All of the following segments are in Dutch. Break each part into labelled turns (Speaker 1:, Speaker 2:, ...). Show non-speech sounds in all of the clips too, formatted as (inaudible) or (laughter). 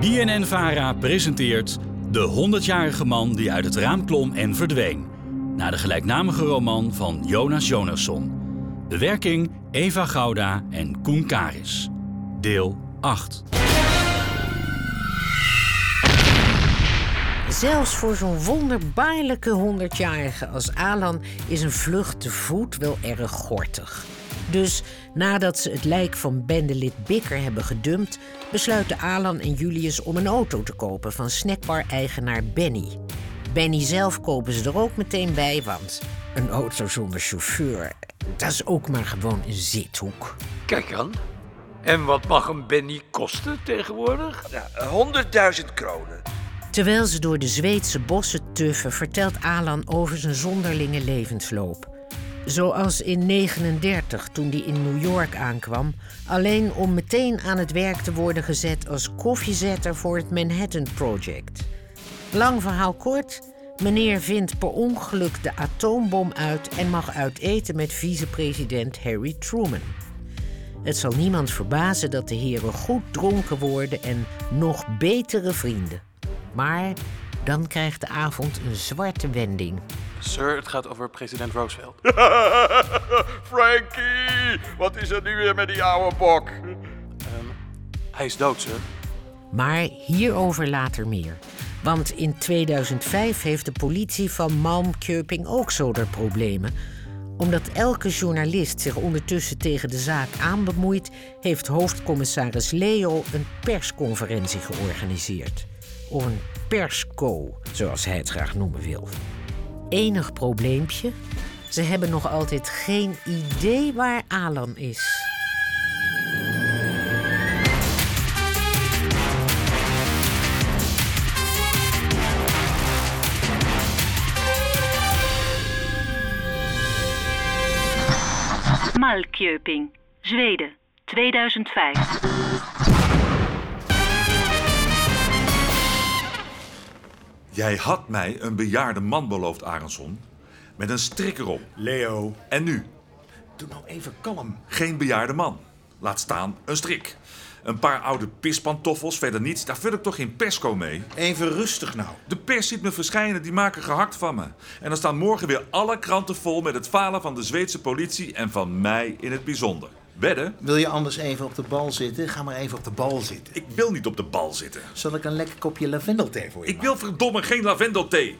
Speaker 1: BNN Vara presenteert De 100-jarige man die uit het raam klom en verdween. Naar de gelijknamige roman van Jonas Jonasson. Bewerking Eva Gouda en Koen Karis. Deel 8.
Speaker 2: Zelfs voor zo'n wonderbaarlijke honderdjarige als Alan is een vlucht te voet wel erg gortig. Dus nadat ze het lijk van bendelid Bikker hebben gedumpt, besluiten Alan en Julius om een auto te kopen van snackbar-eigenaar Benny. Benny zelf kopen ze er ook meteen bij, want een auto zonder chauffeur, dat is ook maar gewoon een zithoek.
Speaker 3: Kijk aan. En wat mag een Benny kosten tegenwoordig?
Speaker 4: Nou, 100.000 kronen.
Speaker 2: Terwijl ze door de Zweedse bossen tuffen, vertelt Alan over zijn zonderlinge levensloop. Zoals in 39, toen hij in New York aankwam, alleen om meteen aan het werk te worden gezet als koffiezetter voor het Manhattan Project. Lang verhaal kort, meneer vindt per ongeluk de atoombom uit en mag uit eten met vicepresident Harry Truman. Het zal niemand verbazen dat de heren goed dronken worden en nog betere vrienden. Maar dan krijgt de avond een zwarte wending.
Speaker 5: Sir, het gaat over president Roosevelt.
Speaker 6: (laughs) Frankie, wat is er nu weer met die oude bok?
Speaker 5: Ehm, Hij is dood, sir.
Speaker 2: Maar hierover later meer. Want in 2005 heeft de politie van Malmköping ook zoder problemen. Omdat elke journalist zich ondertussen tegen de zaak aanbemoeit, heeft hoofdcommissaris Leo een persconferentie georganiseerd. Of een persco, zoals hij het graag noemen wil. Enig probleempje? Ze hebben nog altijd geen idee waar Alan is.
Speaker 7: Malkjöping, Zweden, 2005.
Speaker 6: Jij had mij een bejaarde man beloofd, Arenson. Met een strik erop.
Speaker 8: Leo,
Speaker 6: En nu?
Speaker 8: doe nou even kalm.
Speaker 6: Geen bejaarde man. Laat staan, een strik. Een paar oude pispantoffels, verder niets. Daar vul ik toch geen persco mee?
Speaker 8: Even rustig nou.
Speaker 6: De pers ziet me verschijnen, die maken gehakt van me. En dan staan morgen weer alle kranten vol met het falen van de Zweedse politie en van mij in het bijzonder. Wedden?
Speaker 8: Wil je anders even op de bal zitten? Ga maar even op de bal zitten.
Speaker 6: Ik wil niet op de bal zitten.
Speaker 8: Zal ik een lekker kopje lavendelthee voor je
Speaker 6: Ik
Speaker 8: maken?
Speaker 6: wil verdomme geen lavendelthee.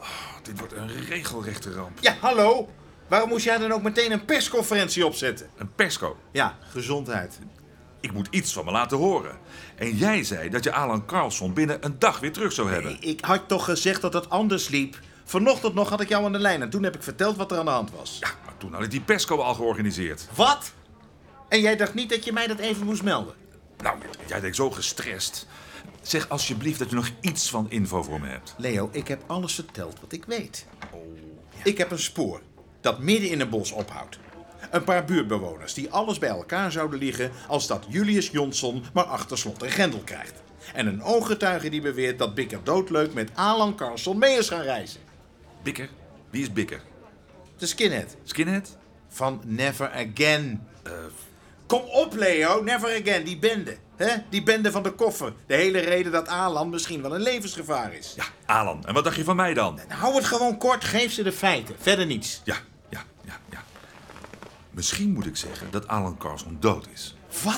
Speaker 6: Oh, dit wordt een regelrechte ramp.
Speaker 8: Ja, hallo?
Speaker 6: Oh,
Speaker 8: Waarom moest jij dan ook meteen een persconferentie opzetten?
Speaker 6: Een persco.
Speaker 8: Ja, gezondheid.
Speaker 6: Ik moet iets van me laten horen. En jij zei dat je Alan Carlson binnen een dag weer terug zou hebben.
Speaker 8: Ik had toch gezegd dat het anders liep? Vanochtend nog had ik jou aan de lijn en toen heb ik verteld wat er aan de hand was.
Speaker 6: Ja, maar toen had ik die persco al georganiseerd.
Speaker 8: Wat? En jij dacht niet dat je mij dat even moest melden?
Speaker 6: Nou, jij deed zo gestrest. Zeg alsjeblieft dat je nog iets van info voor me hebt. Oh,
Speaker 8: Leo, ik heb alles verteld wat ik weet. Ik heb een spoor dat midden in een bos ophoudt. Een paar buurtbewoners die alles bij elkaar zouden liggen als dat Julius Jonsson maar achter slot en grendel krijgt. En een ooggetuige die beweert dat Bikker doodleuk met Alan Carlson mee is gaan reizen.
Speaker 6: Bikker? Wie is Bikker?
Speaker 8: De skinhead
Speaker 6: Skinhead? Eh,
Speaker 8: van Never Again. Kom op Leo, Never Again, die bende. hè? Die bende van de koffer. De hele reden dat Alan misschien wel een levensgevaar is. Nou,
Speaker 6: Ja, Alan. En wat dacht je van mij dan?
Speaker 8: Hou het gewoon kort, geef ze de feiten. Verder niets.
Speaker 6: Ja, ja, ja, ja. Misschien moet ik zeggen dat Alan Carlson dood is.
Speaker 8: Wat?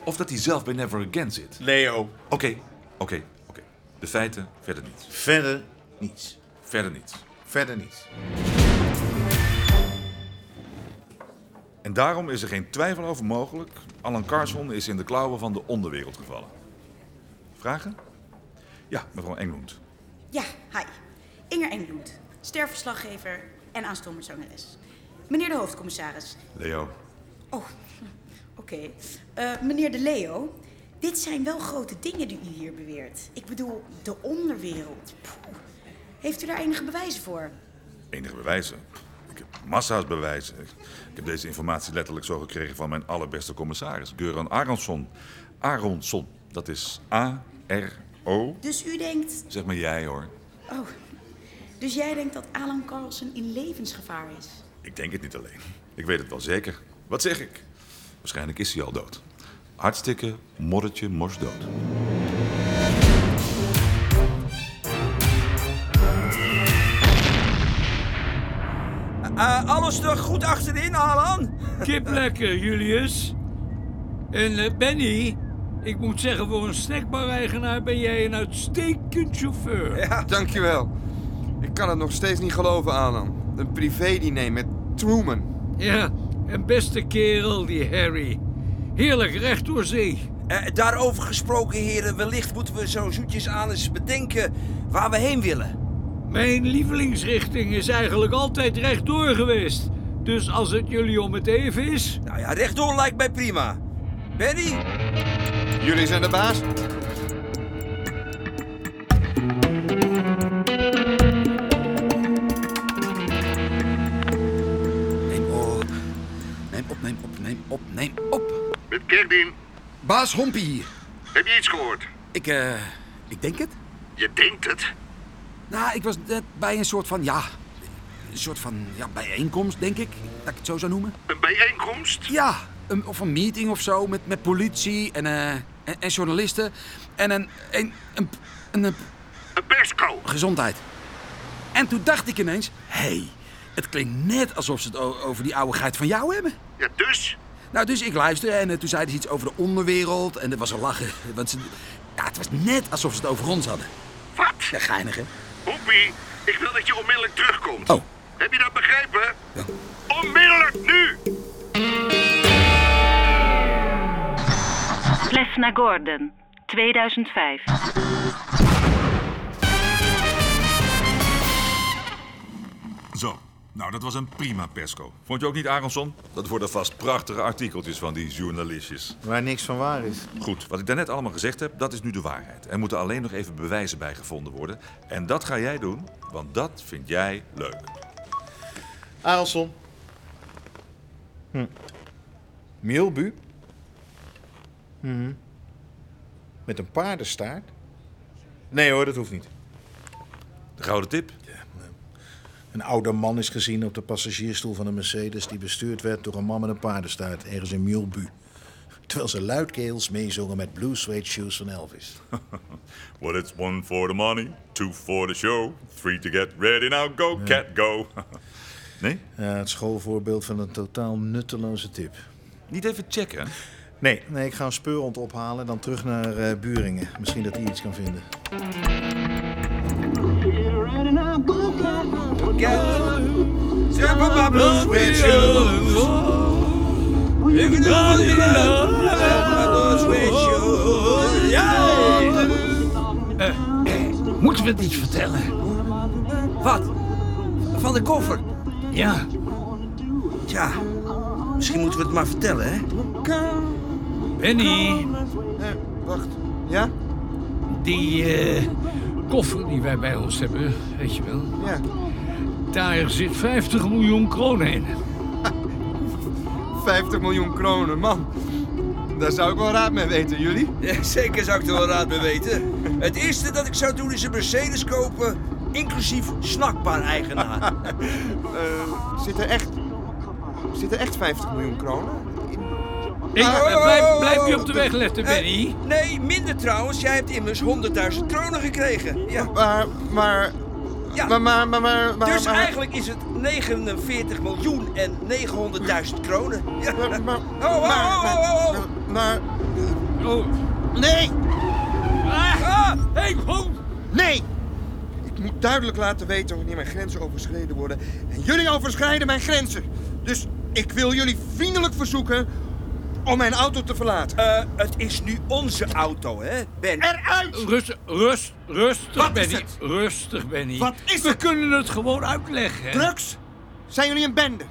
Speaker 8: oh.
Speaker 6: Of dat hij zelf bij Never Again zit.
Speaker 8: Leo.
Speaker 6: Oké, oké, oké. De feiten, verder niet.
Speaker 8: Verder niets.
Speaker 6: Verder niet.
Speaker 8: Verder niets.
Speaker 6: En daarom is er geen twijfel over mogelijk. Alan Carson is in de klauwen van de onderwereld gevallen. Vragen? Ja, mevrouw Englund.
Speaker 9: Ja, hi. Inger Engbloed, sterverslaggever en aanstomend zangeres. Meneer de hoofdcommissaris.
Speaker 6: (laughs) Leo.
Speaker 9: Oh, (laughs) oké. Eh, meneer de Leo, dit zijn wel grote dingen die u hier beweert. Ik bedoel, de onderwereld. Poeh. Heeft u daar enige bewijzen voor?
Speaker 6: Enige bewijzen. Ik heb massa's bewijzen. Ik heb deze informatie letterlijk zo gekregen van mijn allerbeste commissaris, Göran Aronson. Aronson, dat is A-R-O.
Speaker 9: Dus u denkt...
Speaker 6: Zeg maar jij hoor.
Speaker 9: Oh, dus jij denkt dat Alan Carlsen in levensgevaar is?
Speaker 6: Ik denk het niet alleen. Ik weet het wel zeker. Wat zeg ik? Waarschijnlijk is hij al dood. Hartstikke moddertje mors dood.
Speaker 4: Eh, alles er goed achterin, Alan?
Speaker 10: Kip lekker, Julius. En eh, Benny, ik moet zeggen, voor een snackbar-eigenaar ben jij een uitstekend chauffeur.
Speaker 11: Ja, dankjewel. Ik kan het nog steeds niet geloven, Alan. Een privé-diner met Truman.
Speaker 10: Ja, en beste kerel, die Harry. Heerlijk recht door zee.
Speaker 4: Eh, daarover gesproken, heren, wellicht moeten we zo zoetjes aan eens bedenken waar we heen willen.
Speaker 10: Mijn lievelingsrichting is eigenlijk altijd rechtdoor geweest. Dus als het jullie om het even is...
Speaker 4: Nou ja, rechtdoor lijkt mij prima. Benny?
Speaker 11: Jullie zijn de baas.
Speaker 4: Neem op. Neem op, neem op, neem op, neem op.
Speaker 12: Met Kerdin,
Speaker 4: Baas Hompie hier.
Speaker 12: heb je iets gehoord?
Speaker 4: Ik, eh, ik denk het.
Speaker 12: Je denkt het.
Speaker 4: Nou, ik was net bij een soort van, ja... Een soort van ja, bijeenkomst, denk ik. Dat ik het zo zou noemen.
Speaker 12: Een bijeenkomst?
Speaker 4: Ja, een, of een meeting of zo met, met politie en, eh, en, en journalisten. En een, een, een, een, een
Speaker 12: persco.
Speaker 4: Gezondheid. En toen dacht ik ineens, hé, hey, het klinkt net alsof ze het o- over die ouwigheid van jou hebben.
Speaker 12: Ja, dus?
Speaker 4: Nou, dus ik luisterde en eh, toen zeiden ze iets over de onderwereld en er was een lachen. Want ze, ja, het was net alsof ze het over ons hadden.
Speaker 12: Wat?
Speaker 4: Ja, geinig, hè?
Speaker 12: Hoepie, ik wil dat je onmiddellijk terugkomt.
Speaker 4: Oh.
Speaker 12: Heb je dat begrepen? Onmiddellijk nu!
Speaker 7: Plesna Gordon, 2005.
Speaker 6: Zo, nou dat was een prima persco. Vond je ook niet, Aronson? Dat worden vast prachtige artikeltjes van die journalistjes.
Speaker 8: Waar niks van waar is.
Speaker 6: Goed, wat ik daarnet allemaal gezegd heb, dat is nu de waarheid. Er moeten alleen nog even bewijzen bij gevonden worden. En dat ga jij doen, want dat vind jij leuk.
Speaker 8: Aronson. Hm. Milbu. Hm. Met een paardenstaart? Nee hoor, dat hoeft niet.
Speaker 6: De gouden tip?
Speaker 8: Een oude man is gezien op de passagiersstoel van een Mercedes... die bestuurd werd door een man met een paardenstaart ergens in Milbu. Terwijl ze luidkeels meezongen met Blue Suede Shoes van Elvis.
Speaker 6: Well, it's one for the money, two for the show, three to get ready, now go, cat, go. Nee?
Speaker 8: Ja, Eh, het schoolvoorbeeld van een totaal nutteloze tip.
Speaker 6: Niet even checken?
Speaker 8: Nee. Nee, ik ga een speurhond ophalen en dan terug naar eh, Buringen. Misschien dat hij iets kan vinden.
Speaker 10: Eh, Moeten we het niet vertellen?
Speaker 4: Wat? Van de koffer?
Speaker 10: Ja.
Speaker 4: Tja, misschien moeten we het maar vertellen, hè?
Speaker 10: Benny,
Speaker 11: Eh, wacht. Ja?
Speaker 10: die eh, koffer die wij bij ons hebben, weet je wel.
Speaker 11: Ja.
Speaker 10: Daar zit 50 miljoen kronen
Speaker 4: (laughs)
Speaker 10: in.
Speaker 11: 50 miljoen kronen, man. Daar zou ik wel raad mee weten, jullie.
Speaker 4: (laughs) Ja, zeker zou ik er wel raad mee weten. Het eerste dat ik zou doen is een Mercedes kopen, inclusief (laughs) snackbar-eigenaar.
Speaker 11: Eh, zit er echt... Zit er echt 50 miljoen kronen?
Speaker 10: Ik,
Speaker 4: Ah,
Speaker 10: eh,
Speaker 4: oh,
Speaker 10: blijf,
Speaker 4: oh,
Speaker 10: blijf je
Speaker 4: oh,
Speaker 10: op de weg letten,
Speaker 4: eh,
Speaker 10: Benny.
Speaker 4: Nee, minder trouwens. Jij hebt immers 100.000 kronen gekregen.
Speaker 10: Ah,
Speaker 4: Ja.
Speaker 11: Maar, maar...
Speaker 4: Ja.
Speaker 11: Maar, maar, maar, maar, maar-
Speaker 4: dus
Speaker 11: maar-
Speaker 4: eigenlijk is het 49 miljoen en 900.000 kronen. Ja.
Speaker 11: Maar, maar,
Speaker 4: oh, oh,
Speaker 11: maar-
Speaker 4: oh, oh, oh.
Speaker 11: Maar...
Speaker 10: Oh.
Speaker 11: Nee!
Speaker 10: Ah, hey,
Speaker 11: Nee! Ik moet duidelijk laten weten wanneer mijn grenzen overschreden worden. En jullie overschrijden mijn grenzen. Dus ik wil jullie vriendelijk verzoeken om mijn auto te verlaten.
Speaker 4: Eh, het is nu onze auto, hè, Ben?
Speaker 11: Eruit!
Speaker 10: Rust, rust, rustig,
Speaker 11: Wat is
Speaker 10: Benny.
Speaker 11: het?
Speaker 10: Rustig, Benny.
Speaker 11: Wat is
Speaker 10: we
Speaker 11: het?
Speaker 10: kunnen het gewoon uitleggen.
Speaker 11: Drugs? Zijn jullie een bende?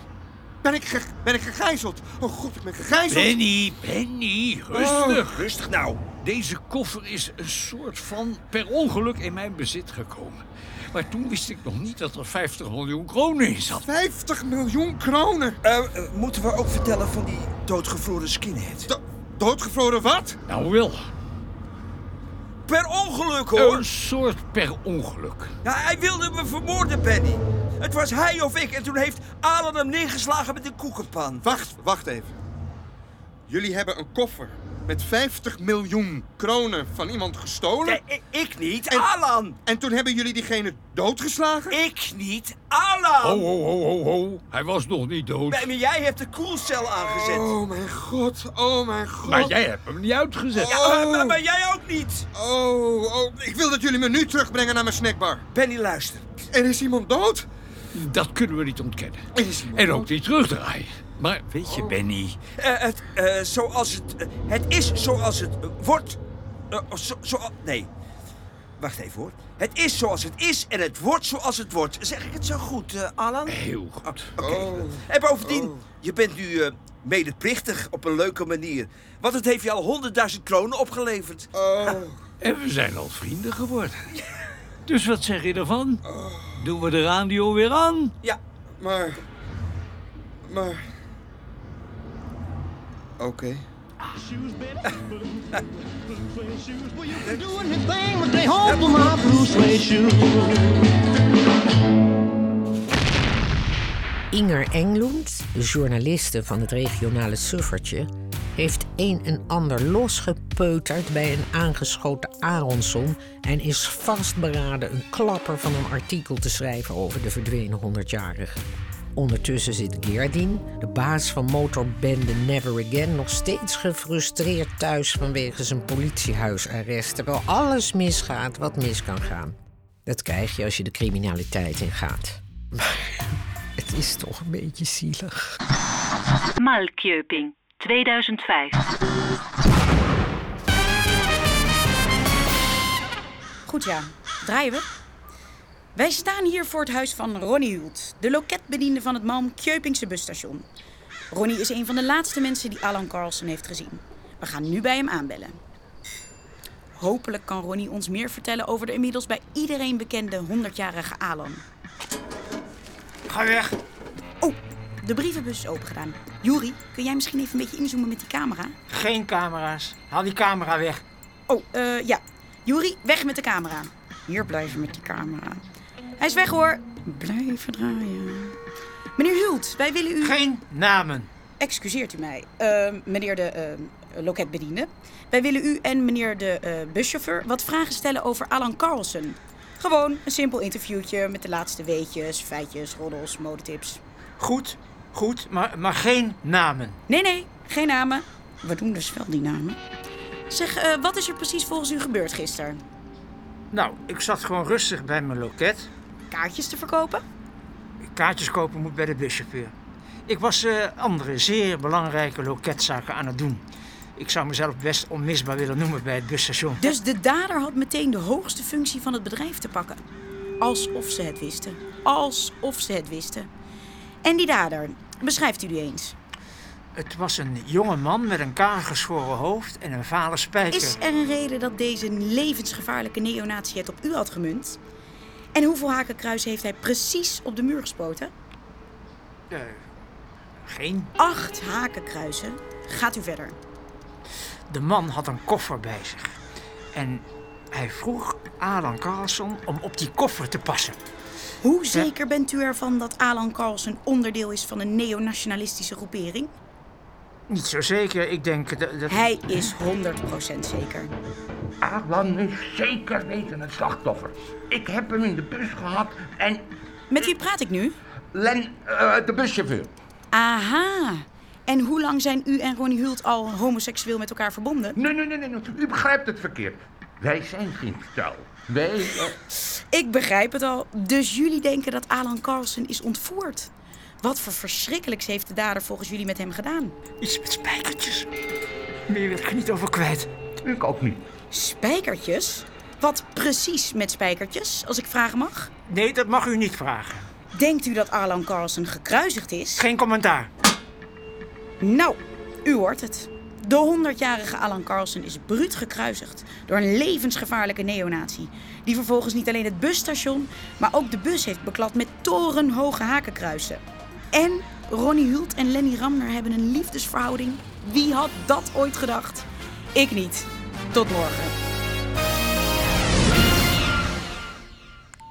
Speaker 11: Ben ik, ge- ben ik gegijzeld? Oh god, ik ben gegijzeld.
Speaker 10: Benny, Benny, rustig.
Speaker 4: Oh, rustig nou.
Speaker 10: Deze koffer is een soort van per ongeluk in mijn bezit gekomen. Maar toen wist ik nog niet dat er 50 miljoen kronen in zat.
Speaker 11: 50 miljoen kronen.
Speaker 4: Eh, eh, moeten we ook vertellen van die doodgevroren skinhead?
Speaker 11: Do- doodgevroren wat?
Speaker 10: Nou, wel.
Speaker 4: Per ongeluk, hoor.
Speaker 10: Een soort per ongeluk.
Speaker 4: Ja, hij wilde me vermoorden, Benny. Het was hij of ik. En toen heeft Alan hem neergeslagen met een koekenpan.
Speaker 11: Wacht, wacht even. Jullie hebben een koffer met 50 miljoen kronen van iemand gestolen. ik niet,
Speaker 4: Alan!
Speaker 11: En toen hebben jullie diegene doodgeslagen?
Speaker 4: Ik niet, Alan!
Speaker 13: Ho, ho, ho, ho, ho. Hij was nog niet dood.
Speaker 4: Maar jij hebt de koelcel aangezet.
Speaker 11: Oh mijn god, oh mijn god.
Speaker 13: Maar jij hebt hem niet uitgezet.
Speaker 4: Ja, maar, maar jij ook niet.
Speaker 11: Oh, oh, ik wil dat jullie me nu terugbrengen naar mijn snackbar.
Speaker 4: Benny, luister.
Speaker 11: Er is iemand dood?
Speaker 13: Dat kunnen we niet ontkennen.
Speaker 11: Er is iemand
Speaker 13: En
Speaker 11: dood.
Speaker 13: ook niet terugdraaien. Maar weet
Speaker 14: Oh.
Speaker 13: je, Benny...
Speaker 4: Eh, het, eh, zoals het, eh, het is zoals het eh, wordt. Eh, zo, zo, nee, wacht even hoor. Het is zoals het is en het wordt zoals het wordt. Zeg ik het zo goed, eh, Alan? Ah,
Speaker 13: Heel goed.
Speaker 4: Oké. En bovendien, je bent nu eh, medeplichtig op een leuke manier. Want het heeft je al honderdduizend kronen opgeleverd.
Speaker 13: En we zijn al vrienden geworden. Dus wat zeg je ervan? Doen we de radio weer aan?
Speaker 4: Ja.
Speaker 11: Maar. Maar. Oké.
Speaker 15: They hold them up, blue suede
Speaker 2: Inger Englund, de journaliste van het regionale suffertje, heeft een en ander losgepeuterd bij een aangeschoten Aronson en is vastberaden een klapper van een artikel te schrijven over de verdwenen 100-jarige. Ondertussen zit Geerdien, de baas van motorbende Never Again, nog steeds gefrustreerd thuis vanwege zijn politiehuisarrest, terwijl alles misgaat wat mis kan gaan. Dat krijg je als je de criminaliteit ingaat. Het is toch een beetje zielig.
Speaker 7: Malkjöping, 2005.
Speaker 9: Goed ja, draaien we. Wij staan hier voor het huis van Ronnie Hult, de loketbediende van het Malm Kjöpingse busstation. Ronnie is een van de laatste mensen die Alan Carlsen heeft gezien. We gaan nu bij hem aanbellen. Hopelijk kan Ronnie ons meer vertellen over de inmiddels bij iedereen bekende 100-jarige Alan. Ga weg! Oh, de brievenbus is opengedaan. Juri, kun jij misschien even een beetje inzoomen met die camera?
Speaker 14: Geen camera's. Haal die camera weg.
Speaker 9: Oh, eh, ja. Juri, weg met de camera. Hier blijven met die camera. Hij is weg hoor. Blijven draaien. Meneer Hult, wij willen u... Geen
Speaker 14: Namen.
Speaker 9: Excuseert u mij, eh, meneer de eh, loketbediende. Wij willen u en meneer de eh, buschauffeur wat vragen stellen over Alan Carlsen. Gewoon een simpel interviewtje met de laatste weetjes, feitjes, roddels, modetips.
Speaker 14: Goed, goed, maar, maar geen namen.
Speaker 9: Nee, nee, geen namen. We doen dus wel die namen. Zeg, eh, wat is er precies volgens u gebeurd gisteren?
Speaker 14: Nou, ik zat gewoon rustig bij mijn loket.
Speaker 9: Kaartjes te verkopen?
Speaker 14: Kaartjes kopen moet bij de buschauffeur. Ik was eh, andere zeer belangrijke loketzaken aan het doen. Ik zou mezelf best onmisbaar willen noemen bij het busstation.
Speaker 9: Dus de dader had meteen de hoogste functie van het bedrijf te pakken. Alsof ze het wisten. Alsof ze het wisten. En die dader, beschrijft u die eens.
Speaker 14: Het was een jonge man met een kaal geschoren hoofd en een vale spijker.
Speaker 9: Is er een reden dat deze levensgevaarlijke neonatie het op u had gemunt? En hoeveel hakenkruis heeft hij precies op de muur gespoten?
Speaker 14: Eh, geen.
Speaker 9: Acht hakenkruisen. Gaat u verder.
Speaker 14: De man had een koffer bij zich. En hij vroeg Alan Carlson om op die koffer te passen.
Speaker 9: Hoe zeker bent u ervan dat Alan Carlsen onderdeel is van een neonationalistische groepering?
Speaker 14: Niet zo zeker, ik denk dat... dat...
Speaker 9: Hij is 100% zeker.
Speaker 16: Alan is zeker weten het slachtoffer. Ik heb hem in de bus gehad en...
Speaker 9: Met wie praat ik nu?
Speaker 16: Len, eh, de buschauffeur.
Speaker 9: Aha. En hoe lang zijn u en Ronnie Hult al homoseksueel met elkaar verbonden?
Speaker 16: Nee, nee, nee, nee, nee, u begrijpt het verkeerd. Wij zijn geen vertel. Wij... eh,
Speaker 9: Ik begrijp het al. Dus jullie denken dat Alan Carlsen is ontvoerd? Wat voor verschrikkelijks heeft de dader volgens jullie met hem gedaan?
Speaker 14: Iets met spijkertjes. Meer wil ik er niet over kwijt.
Speaker 16: Ik ook niet.
Speaker 9: Spijkertjes? Wat precies met spijkertjes, als ik vragen mag?
Speaker 14: Nee, dat mag u niet vragen.
Speaker 9: Denkt u dat Alan Carlsen gekruisigd is?
Speaker 14: Geen commentaar.
Speaker 9: Nou, u hoort het. De 100-jarige Alan Carlsen is bruut gekruisigd door een levensgevaarlijke neonatie. Die vervolgens niet alleen het busstation, maar ook de bus heeft beklad met torenhoge hakenkruisen. En Ronnie Hult en Lenny Ramner hebben een liefdesverhouding. Wie had dat ooit gedacht? Ik niet. Tot morgen.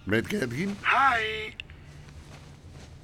Speaker 17: Met Gerdien?
Speaker 18: Hi.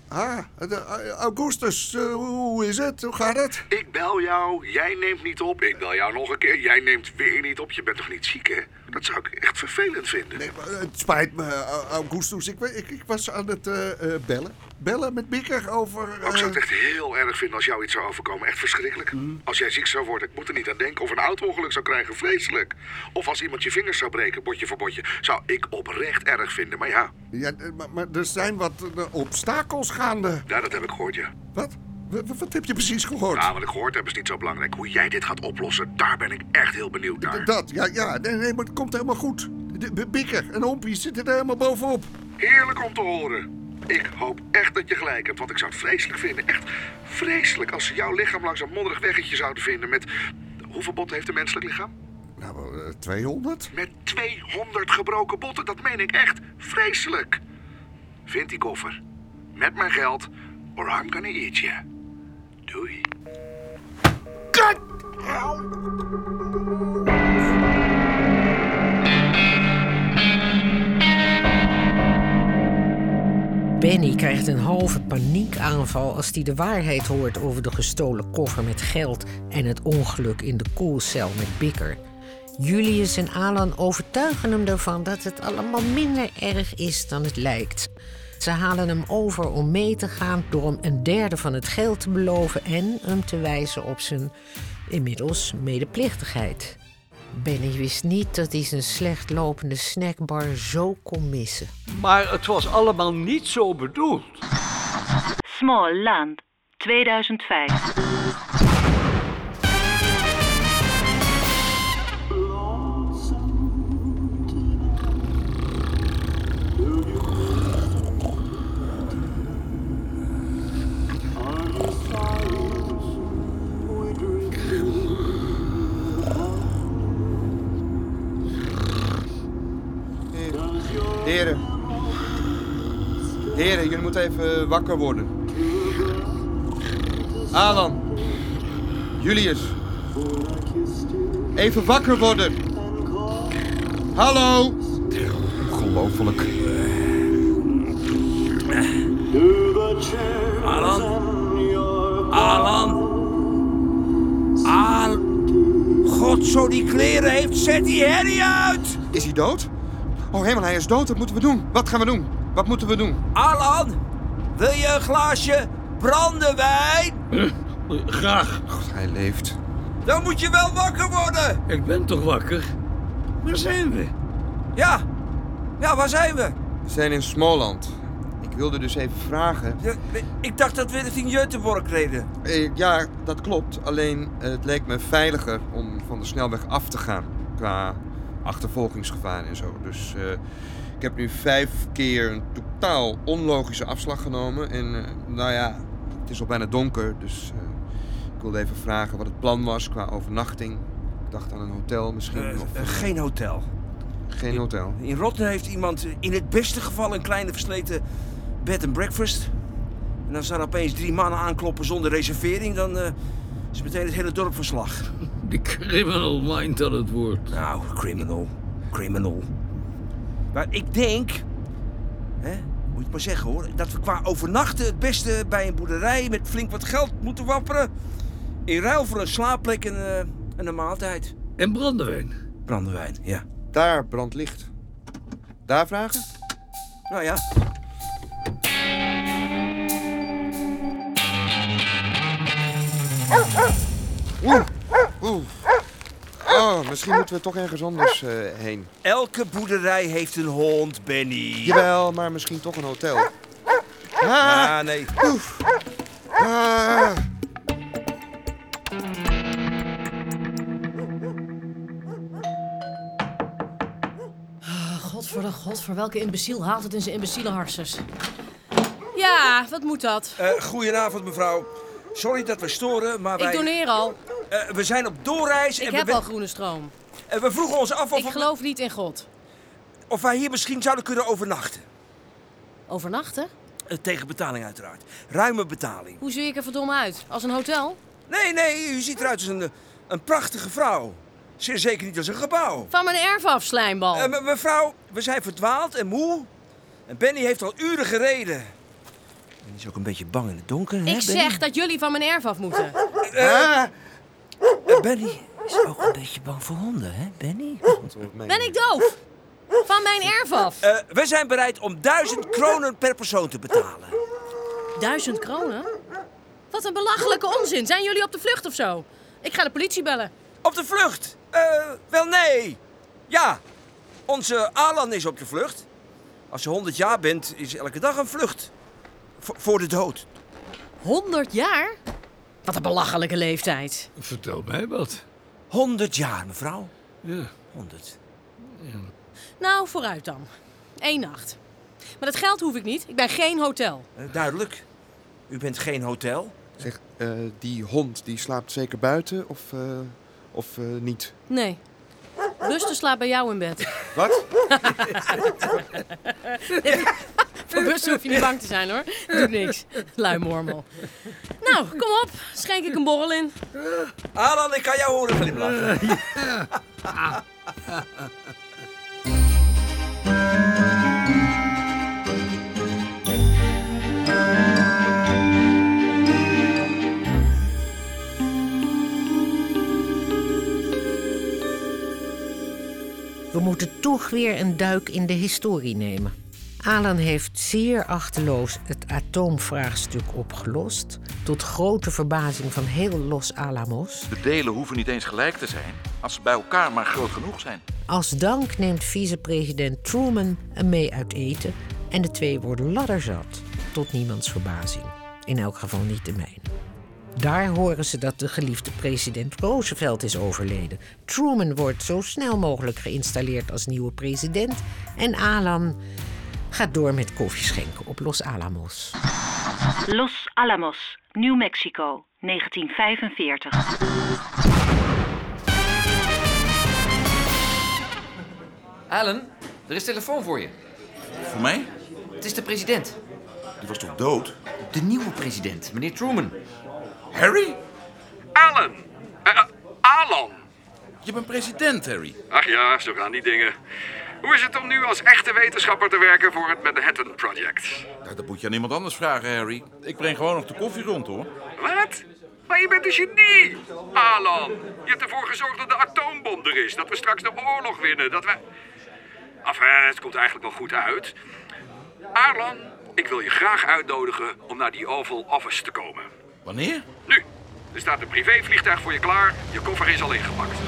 Speaker 17: Ah, de- eh, Augustus, eh, hoe is het? Hoe gaat het?
Speaker 12: Ik bel jou, jij neemt niet op. Ik bel jou nog een keer, jij neemt weer niet op. Je bent toch niet ziek, hè? Dat zou ik echt vervelend vinden.
Speaker 17: Nee, maar Het spijt me, eh, Augustus. Ik, wa- ik, ik was aan het eh, eh, bellen. Bellen met Mikker over...
Speaker 12: ik zou
Speaker 17: eh,
Speaker 12: het echt heel erg vinden als jou iets zou overkomen. Echt verschrikkelijk. Als jij ziek zou worden, ik moet er niet aan denken. Of een auto-ongeluk zou krijgen, vreselijk. Of als iemand je vingers zou breken, botje voor botje. Zou ik oprecht erg vinden, maar ja.
Speaker 17: ja, eh, maar, maar er zijn wat eh, obstakels gaande.
Speaker 12: Ja, dat heb ik gehoord, ja.
Speaker 17: Wat? Wa- wa- Wat heb je precies gehoord?
Speaker 12: Nou, wat ik gehoord heb is niet zo belangrijk. Hoe jij dit gaat oplossen, daar ben ik echt heel benieuwd naar.
Speaker 17: Dat, ja, ja. Nee, nee, maar het komt helemaal goed. De, de Bikker en Ompie zitten er helemaal bovenop.
Speaker 12: Heerlijk om te horen. Ik hoop echt dat je gelijk hebt, want ik zou het vreselijk vinden. Echt vreselijk als ze jouw lichaam langs een modderig weggetje zouden vinden met... Hoeveel botten heeft een menselijk lichaam?
Speaker 17: Nou, eh, 200?
Speaker 12: Met 200 gebroken botten, dat meen ik echt vreselijk. Vind die koffer. Met mijn geld, or I'm gonna eat you. Doei.
Speaker 17: Kut!
Speaker 2: Benny krijgt een halve paniekaanval als hij de waarheid hoort over de gestolen koffer met geld en het ongeluk in de koelcel met Bikker. Julius en Alan overtuigen hem ervan dat het allemaal minder erg is dan het lijkt. Ze halen hem over om mee te gaan door hem een derde van het geld te beloven en hem te wijzen op zijn inmiddels medeplichtigheid. Benny wist niet dat hij zijn slecht lopende snackbar zo kon missen.
Speaker 13: Maar het was allemaal niet zo bedoeld.
Speaker 7: Small Land, 2005.
Speaker 11: Heren. Heren, jullie moeten even wakker worden. Alan. Julius. Even wakker worden. Hallo.
Speaker 17: Ongelooflijk.
Speaker 6: (laughs)
Speaker 13: Alan? Alan?
Speaker 4: Al. God, zo die kleren heeft, zet die herrie uit!
Speaker 11: Is hij dood? Oh, helemaal, hij is dood. Wat moeten we doen? Wat gaan we doen? Wat moeten we doen?
Speaker 4: Alan, wil je een glaasje brandewijn?
Speaker 13: Graag.
Speaker 11: hij leeft.
Speaker 4: Dan moet je wel wakker worden!
Speaker 13: Ik ben toch wakker? Waar zijn we?
Speaker 4: Ja, ja, waar zijn we?
Speaker 11: We zijn in Småland. Ik wilde dus even vragen.
Speaker 4: Ja, Ik dacht dat we richting Göteborg reden.
Speaker 11: Eh, ja, dat klopt. Alleen eh, het leek me veiliger om van de snelweg af te gaan. Qua achtervolgingsgevaar en zo. Dus eh, ik heb nu vijf keer een totaal onlogische afslag genomen. En eh, nou ja, het is al bijna donker. Dus eh, ik wilde even vragen wat het plan was qua overnachting. Ik dacht aan een hotel misschien.
Speaker 4: Eh,
Speaker 11: of,
Speaker 4: eh, geen hotel.
Speaker 11: Geen hotel.
Speaker 4: In Rotterdam heeft iemand eh, in het beste geval een kleine versleten bed and breakfast. En als daar opeens drie mannen aankloppen zonder reservering, dan eh, is meteen het hele dorp van slag.
Speaker 13: Die criminal mind aan het woord.
Speaker 4: Nou, criminal. Criminal. Maar ik denk, hè, moet ik maar zeggen hoor, dat we qua overnachten het beste bij een boerderij met flink wat geld moeten wapperen. In ruil voor een slaapplek en, eh, en een maaltijd.
Speaker 13: En brandewijn.
Speaker 4: Brandewijn, ja.
Speaker 11: Daar brandt licht. Daar vragen?
Speaker 4: Nou ja.
Speaker 11: Oeh. Oeh. Oh, misschien moeten we toch ergens anders eh, heen.
Speaker 4: Elke boerderij heeft een hond, Benny.
Speaker 11: Jawel, maar misschien toch een hotel.
Speaker 4: Ah, nee.
Speaker 11: Ah.
Speaker 19: Ah,
Speaker 20: God voor de god, voor welke imbeciel haalt het in zijn imbeciele harsers?
Speaker 19: Ja, wat moet dat?
Speaker 4: Eh, goedenavond, mevrouw. Sorry dat we storen, maar wij...
Speaker 19: Ik doneer al.
Speaker 4: Eh, we zijn op doorreis
Speaker 19: Ik
Speaker 4: en we...
Speaker 19: heb
Speaker 4: ben-
Speaker 19: al groene stroom.
Speaker 4: Eh, we vroegen ons af of...
Speaker 19: Ik geloof niet in God.
Speaker 4: Of wij hier misschien zouden kunnen overnachten.
Speaker 20: Overnachten?
Speaker 4: Eh, tegen betaling uiteraard. Ruime betaling.
Speaker 19: Hoe zie ik er verdomme uit? Als een hotel?
Speaker 4: Nee, nee, u ziet eruit als een, eh, een prachtige vrouw. Zeer zeker niet als een gebouw.
Speaker 19: Van mijn erf af, slijmbal.
Speaker 4: Eh, me- mevrouw, we zijn verdwaald en moe. En Benny heeft al uren gereden. En is dus ook een beetje bang in het donker, hè,
Speaker 19: Ik zeg dat jullie van mijn erf af moeten.
Speaker 4: Eh. Benny? Eh, Benny is ook een beetje bang voor honden, hè, Benny?
Speaker 19: Ben ik doof? Van mijn erf af.
Speaker 4: Eh, we zijn bereid om 1000 kronen per persoon te betalen.
Speaker 19: Duizend kronen? Wat een belachelijke onzin. Zijn jullie op de vlucht of zo? Ik ga de politie bellen.
Speaker 4: Op de vlucht? Eh, wel nee. Ja, onze Alan is op de vlucht. Als je 100 jaar bent, is elke dag een vlucht. Vo- voor de dood.
Speaker 19: 100 jaar? Wat een belachelijke leeftijd.
Speaker 13: Vertel mij wat.
Speaker 4: 100 jaar, mevrouw.
Speaker 13: Ja.
Speaker 4: 100.
Speaker 19: Nou, vooruit dan. Eén nacht. Maar dat geld hoef ik niet. Ik ben geen hotel.
Speaker 4: Eh, duidelijk. U bent geen hotel.
Speaker 17: Zeg, eh, die hond die slaapt zeker buiten of, eh, of eh, niet?
Speaker 19: Nee. Buster slaapt bij jou in bed.
Speaker 17: Wat?
Speaker 19: Voor Buster hoef je niet bang te zijn hoor. Doet niks. Lui mormel. Nou, kom op. Schenk ik een borrel in.
Speaker 4: Alan, ik kan jou horen glimlachen. (laughs)
Speaker 2: We moeten toch weer een duik in de historie nemen. Alan heeft zeer achteloos het atoomvraagstuk opgelost, tot grote verbazing van heel Los Alamos.
Speaker 21: De delen hoeven niet eens gelijk te zijn, als ze bij elkaar maar groot genoeg zijn.
Speaker 2: Als dank neemt vicepresident Truman hem mee uit eten en de twee worden ladderzat, tot niemands verbazing. In elk geval niet de mijne. Daar horen ze dat de geliefde president Roosevelt is overleden. Truman wordt zo snel mogelijk geïnstalleerd als nieuwe president en Alan gaat door met koffieschenken op Los Alamos.
Speaker 7: Los Alamos, New Mexico, 1945.
Speaker 22: Alan, er is telefoon voor je.
Speaker 21: Voor mij?
Speaker 22: Het is de president.
Speaker 21: Die was toch dood?
Speaker 22: De nieuwe president, meneer Truman.
Speaker 21: Harry?
Speaker 18: Alan! Eh, eh, Alan!
Speaker 21: Je bent president, Harry.
Speaker 18: Ach ja, zo gaan die dingen. Hoe is het om nu als echte wetenschapper te werken voor het Manhattan Project?
Speaker 21: Nou, dat moet je aan iemand anders vragen, Harry. Ik breng gewoon nog de koffie rond, hoor.
Speaker 18: Wat? Maar je bent een genie, Alan. Je hebt ervoor gezorgd dat de atoombom er is. Dat we straks de oorlog winnen. Dat we... Enfin, het komt eigenlijk wel goed uit. Alan, ik wil je graag uitnodigen om naar die Oval Office te komen.
Speaker 21: Wanneer?
Speaker 18: Nu, er staat een privévliegtuig voor je klaar. Je koffer is al ingepakt.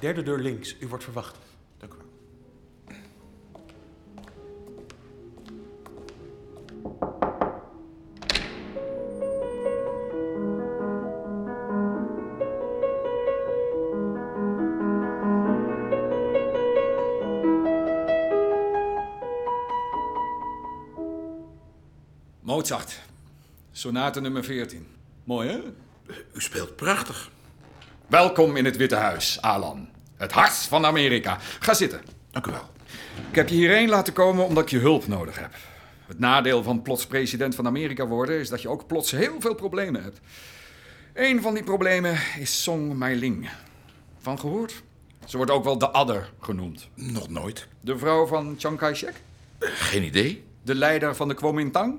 Speaker 5: Derde deur links, u wordt verwacht. Dank u wel.
Speaker 10: Mozart, sonate nummer 14. Mooi, hè? U speelt prachtig. Welkom in het Witte Huis, Alan. Het hart van Amerika. Ga zitten. Dank u wel. Ik heb je hierheen laten komen omdat ik je hulp nodig heb. Het nadeel van plots president van Amerika worden is dat je ook plots heel veel problemen hebt. Een van die problemen is Song Mei-ling. Van gehoord? Ze wordt ook wel de adder genoemd. Nog nooit. De vrouw van Chiang Kai-shek?
Speaker 21: Geen idee.
Speaker 10: De leider van de Kuomintang?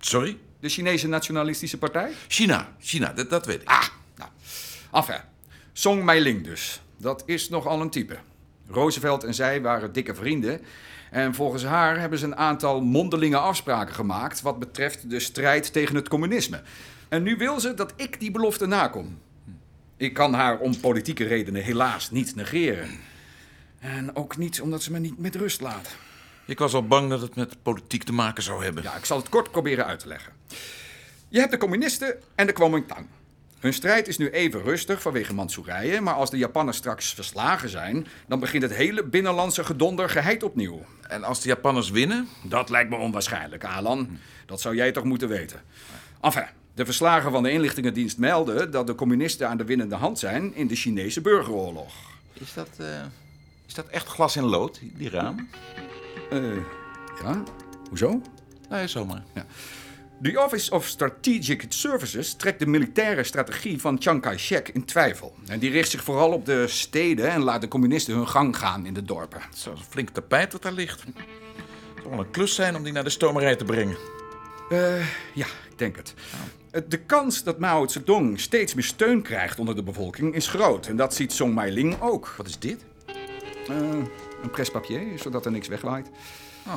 Speaker 21: Sorry?
Speaker 10: De Chinese Nationalistische Partij?
Speaker 21: China, China, dat, dat weet ik.
Speaker 10: Ah, nou. Enfin, Song Mei-ling dus. Dat is nogal een type. Roosevelt en zij waren dikke vrienden. En volgens haar hebben ze een aantal mondelinge afspraken gemaakt... wat betreft de strijd tegen het communisme. En nu wil ze dat ik die belofte nakom. Ik kan haar om politieke redenen helaas niet negeren. En ook niet omdat ze me niet met rust laat.
Speaker 21: Ik was al bang dat het met politiek te maken zou hebben.
Speaker 10: Ja, ik zal het kort proberen uit te leggen. Je hebt de communisten en de Kuomintang. Hun strijd is nu even rustig vanwege Mansoerije, maar als de Japanners straks verslagen zijn, dan begint het hele binnenlandse gedonder geheid opnieuw.
Speaker 21: En als de Japanners winnen?
Speaker 10: Dat lijkt me onwaarschijnlijk, Alan. Dat zou jij toch moeten weten. Enfin, de verslagen van de inlichtingendienst melden dat de communisten aan de winnende hand zijn in de Chinese burgeroorlog.
Speaker 21: Is dat, eh, is dat echt glas in lood, die die raam?
Speaker 10: Eh, ja? Hoezo?
Speaker 21: Nee, Nou zomaar.
Speaker 10: Ja. The Office of Strategic Services trekt de militaire strategie van Chiang Kai-shek in twijfel. En die richt zich vooral op de steden en laat de communisten hun gang gaan in de dorpen. Het is een flink tapijt dat daar ligt. Het zal wel een klus zijn om die naar de stomerij te brengen. Eh, ja, ik denk het. Eh, De kans dat Mao Zedong steeds meer steun krijgt onder de bevolking is groot. En dat ziet Song Mei-ling ook. Wat is dit? een prespapier, zodat er niks wegwaait. Oh.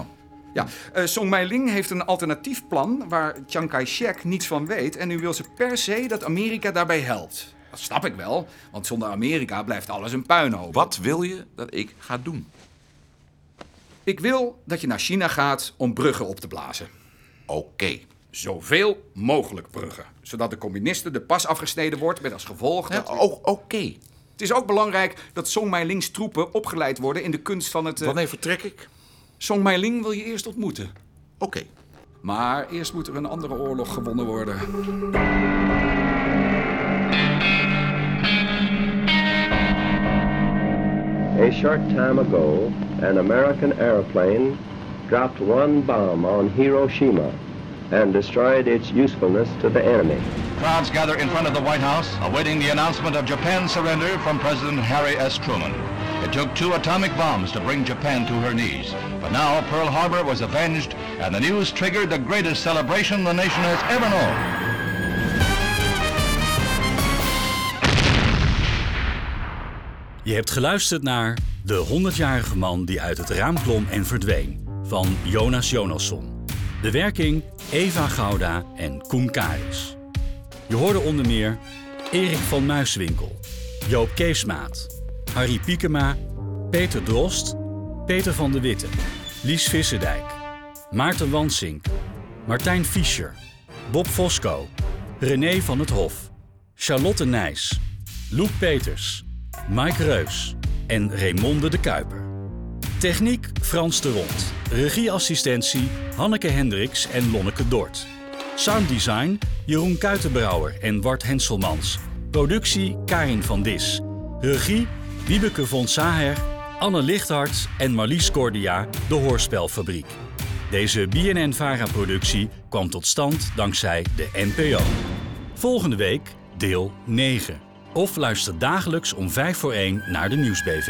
Speaker 10: Ja, eh, Song Mei-ling heeft een alternatief plan waar Chiang Kai-shek niets van weet. En nu wil ze per se dat Amerika daarbij helpt. Dat snap ik wel, want zonder Amerika blijft alles een puinhoop. Wat wil je dat ik ga doen? Ik wil dat je naar China gaat om bruggen op te blazen. Oké. Zoveel mogelijk bruggen. Zodat de communisten de pas afgesneden wordt met als gevolg... Dat... oh, Oké. Het is ook belangrijk dat Song Mei-lings troepen opgeleid worden in de kunst van het... eh, Wanneer vertrek ik? Song Mei-ling wil je eerst ontmoeten. Oké. Maar eerst moet er een andere oorlog gewonnen worden.
Speaker 3: A short time ago, an American airplane dropped one bomb on Hiroshima and destroyed its usefulness to the enemy.
Speaker 21: Crowds gather in front of the White House, awaiting the announcement of Japan's surrender from President Harry S. Truman. It took two atomic bombs to bring Japan to her knees. But now Pearl Harbor was avenged, and the news triggered the greatest celebration the nation has ever known.
Speaker 23: Je hebt geluisterd naar De 100-jarige man die uit het raam klom en verdween van Jonas Jonasson. De werking Eva Gouda en Koen Karis. Je hoorde onder meer Erik van Muiswinkel, Joop Keesmaat, Harry Piekema, Peter Drost, Peter van de Witte, Lies Visserdijk, Maarten Wansink, Martijn Fischer, Bob Fosco, René van het Hof, Charlotte Nijs, Loek Peters, Mike Reus en Raymonde de Kuiper. Techniek Frans de Rond. Regieassistentie Hanneke Hendricks en Lonneke Dort. Sounddesign Jeroen Kuitenbrouwer en Wart Henselmans. Productie Karin van Dis. Regie Wiebeke von Saher, Anne Lichthart en Marlies Cordia, de Hoorspelfabriek. Deze BNN-VARA-productie kwam tot stand dankzij de NPO. Volgende week deel 9. Of luister dagelijks om 5 voor 1 naar de Nieuwsbv.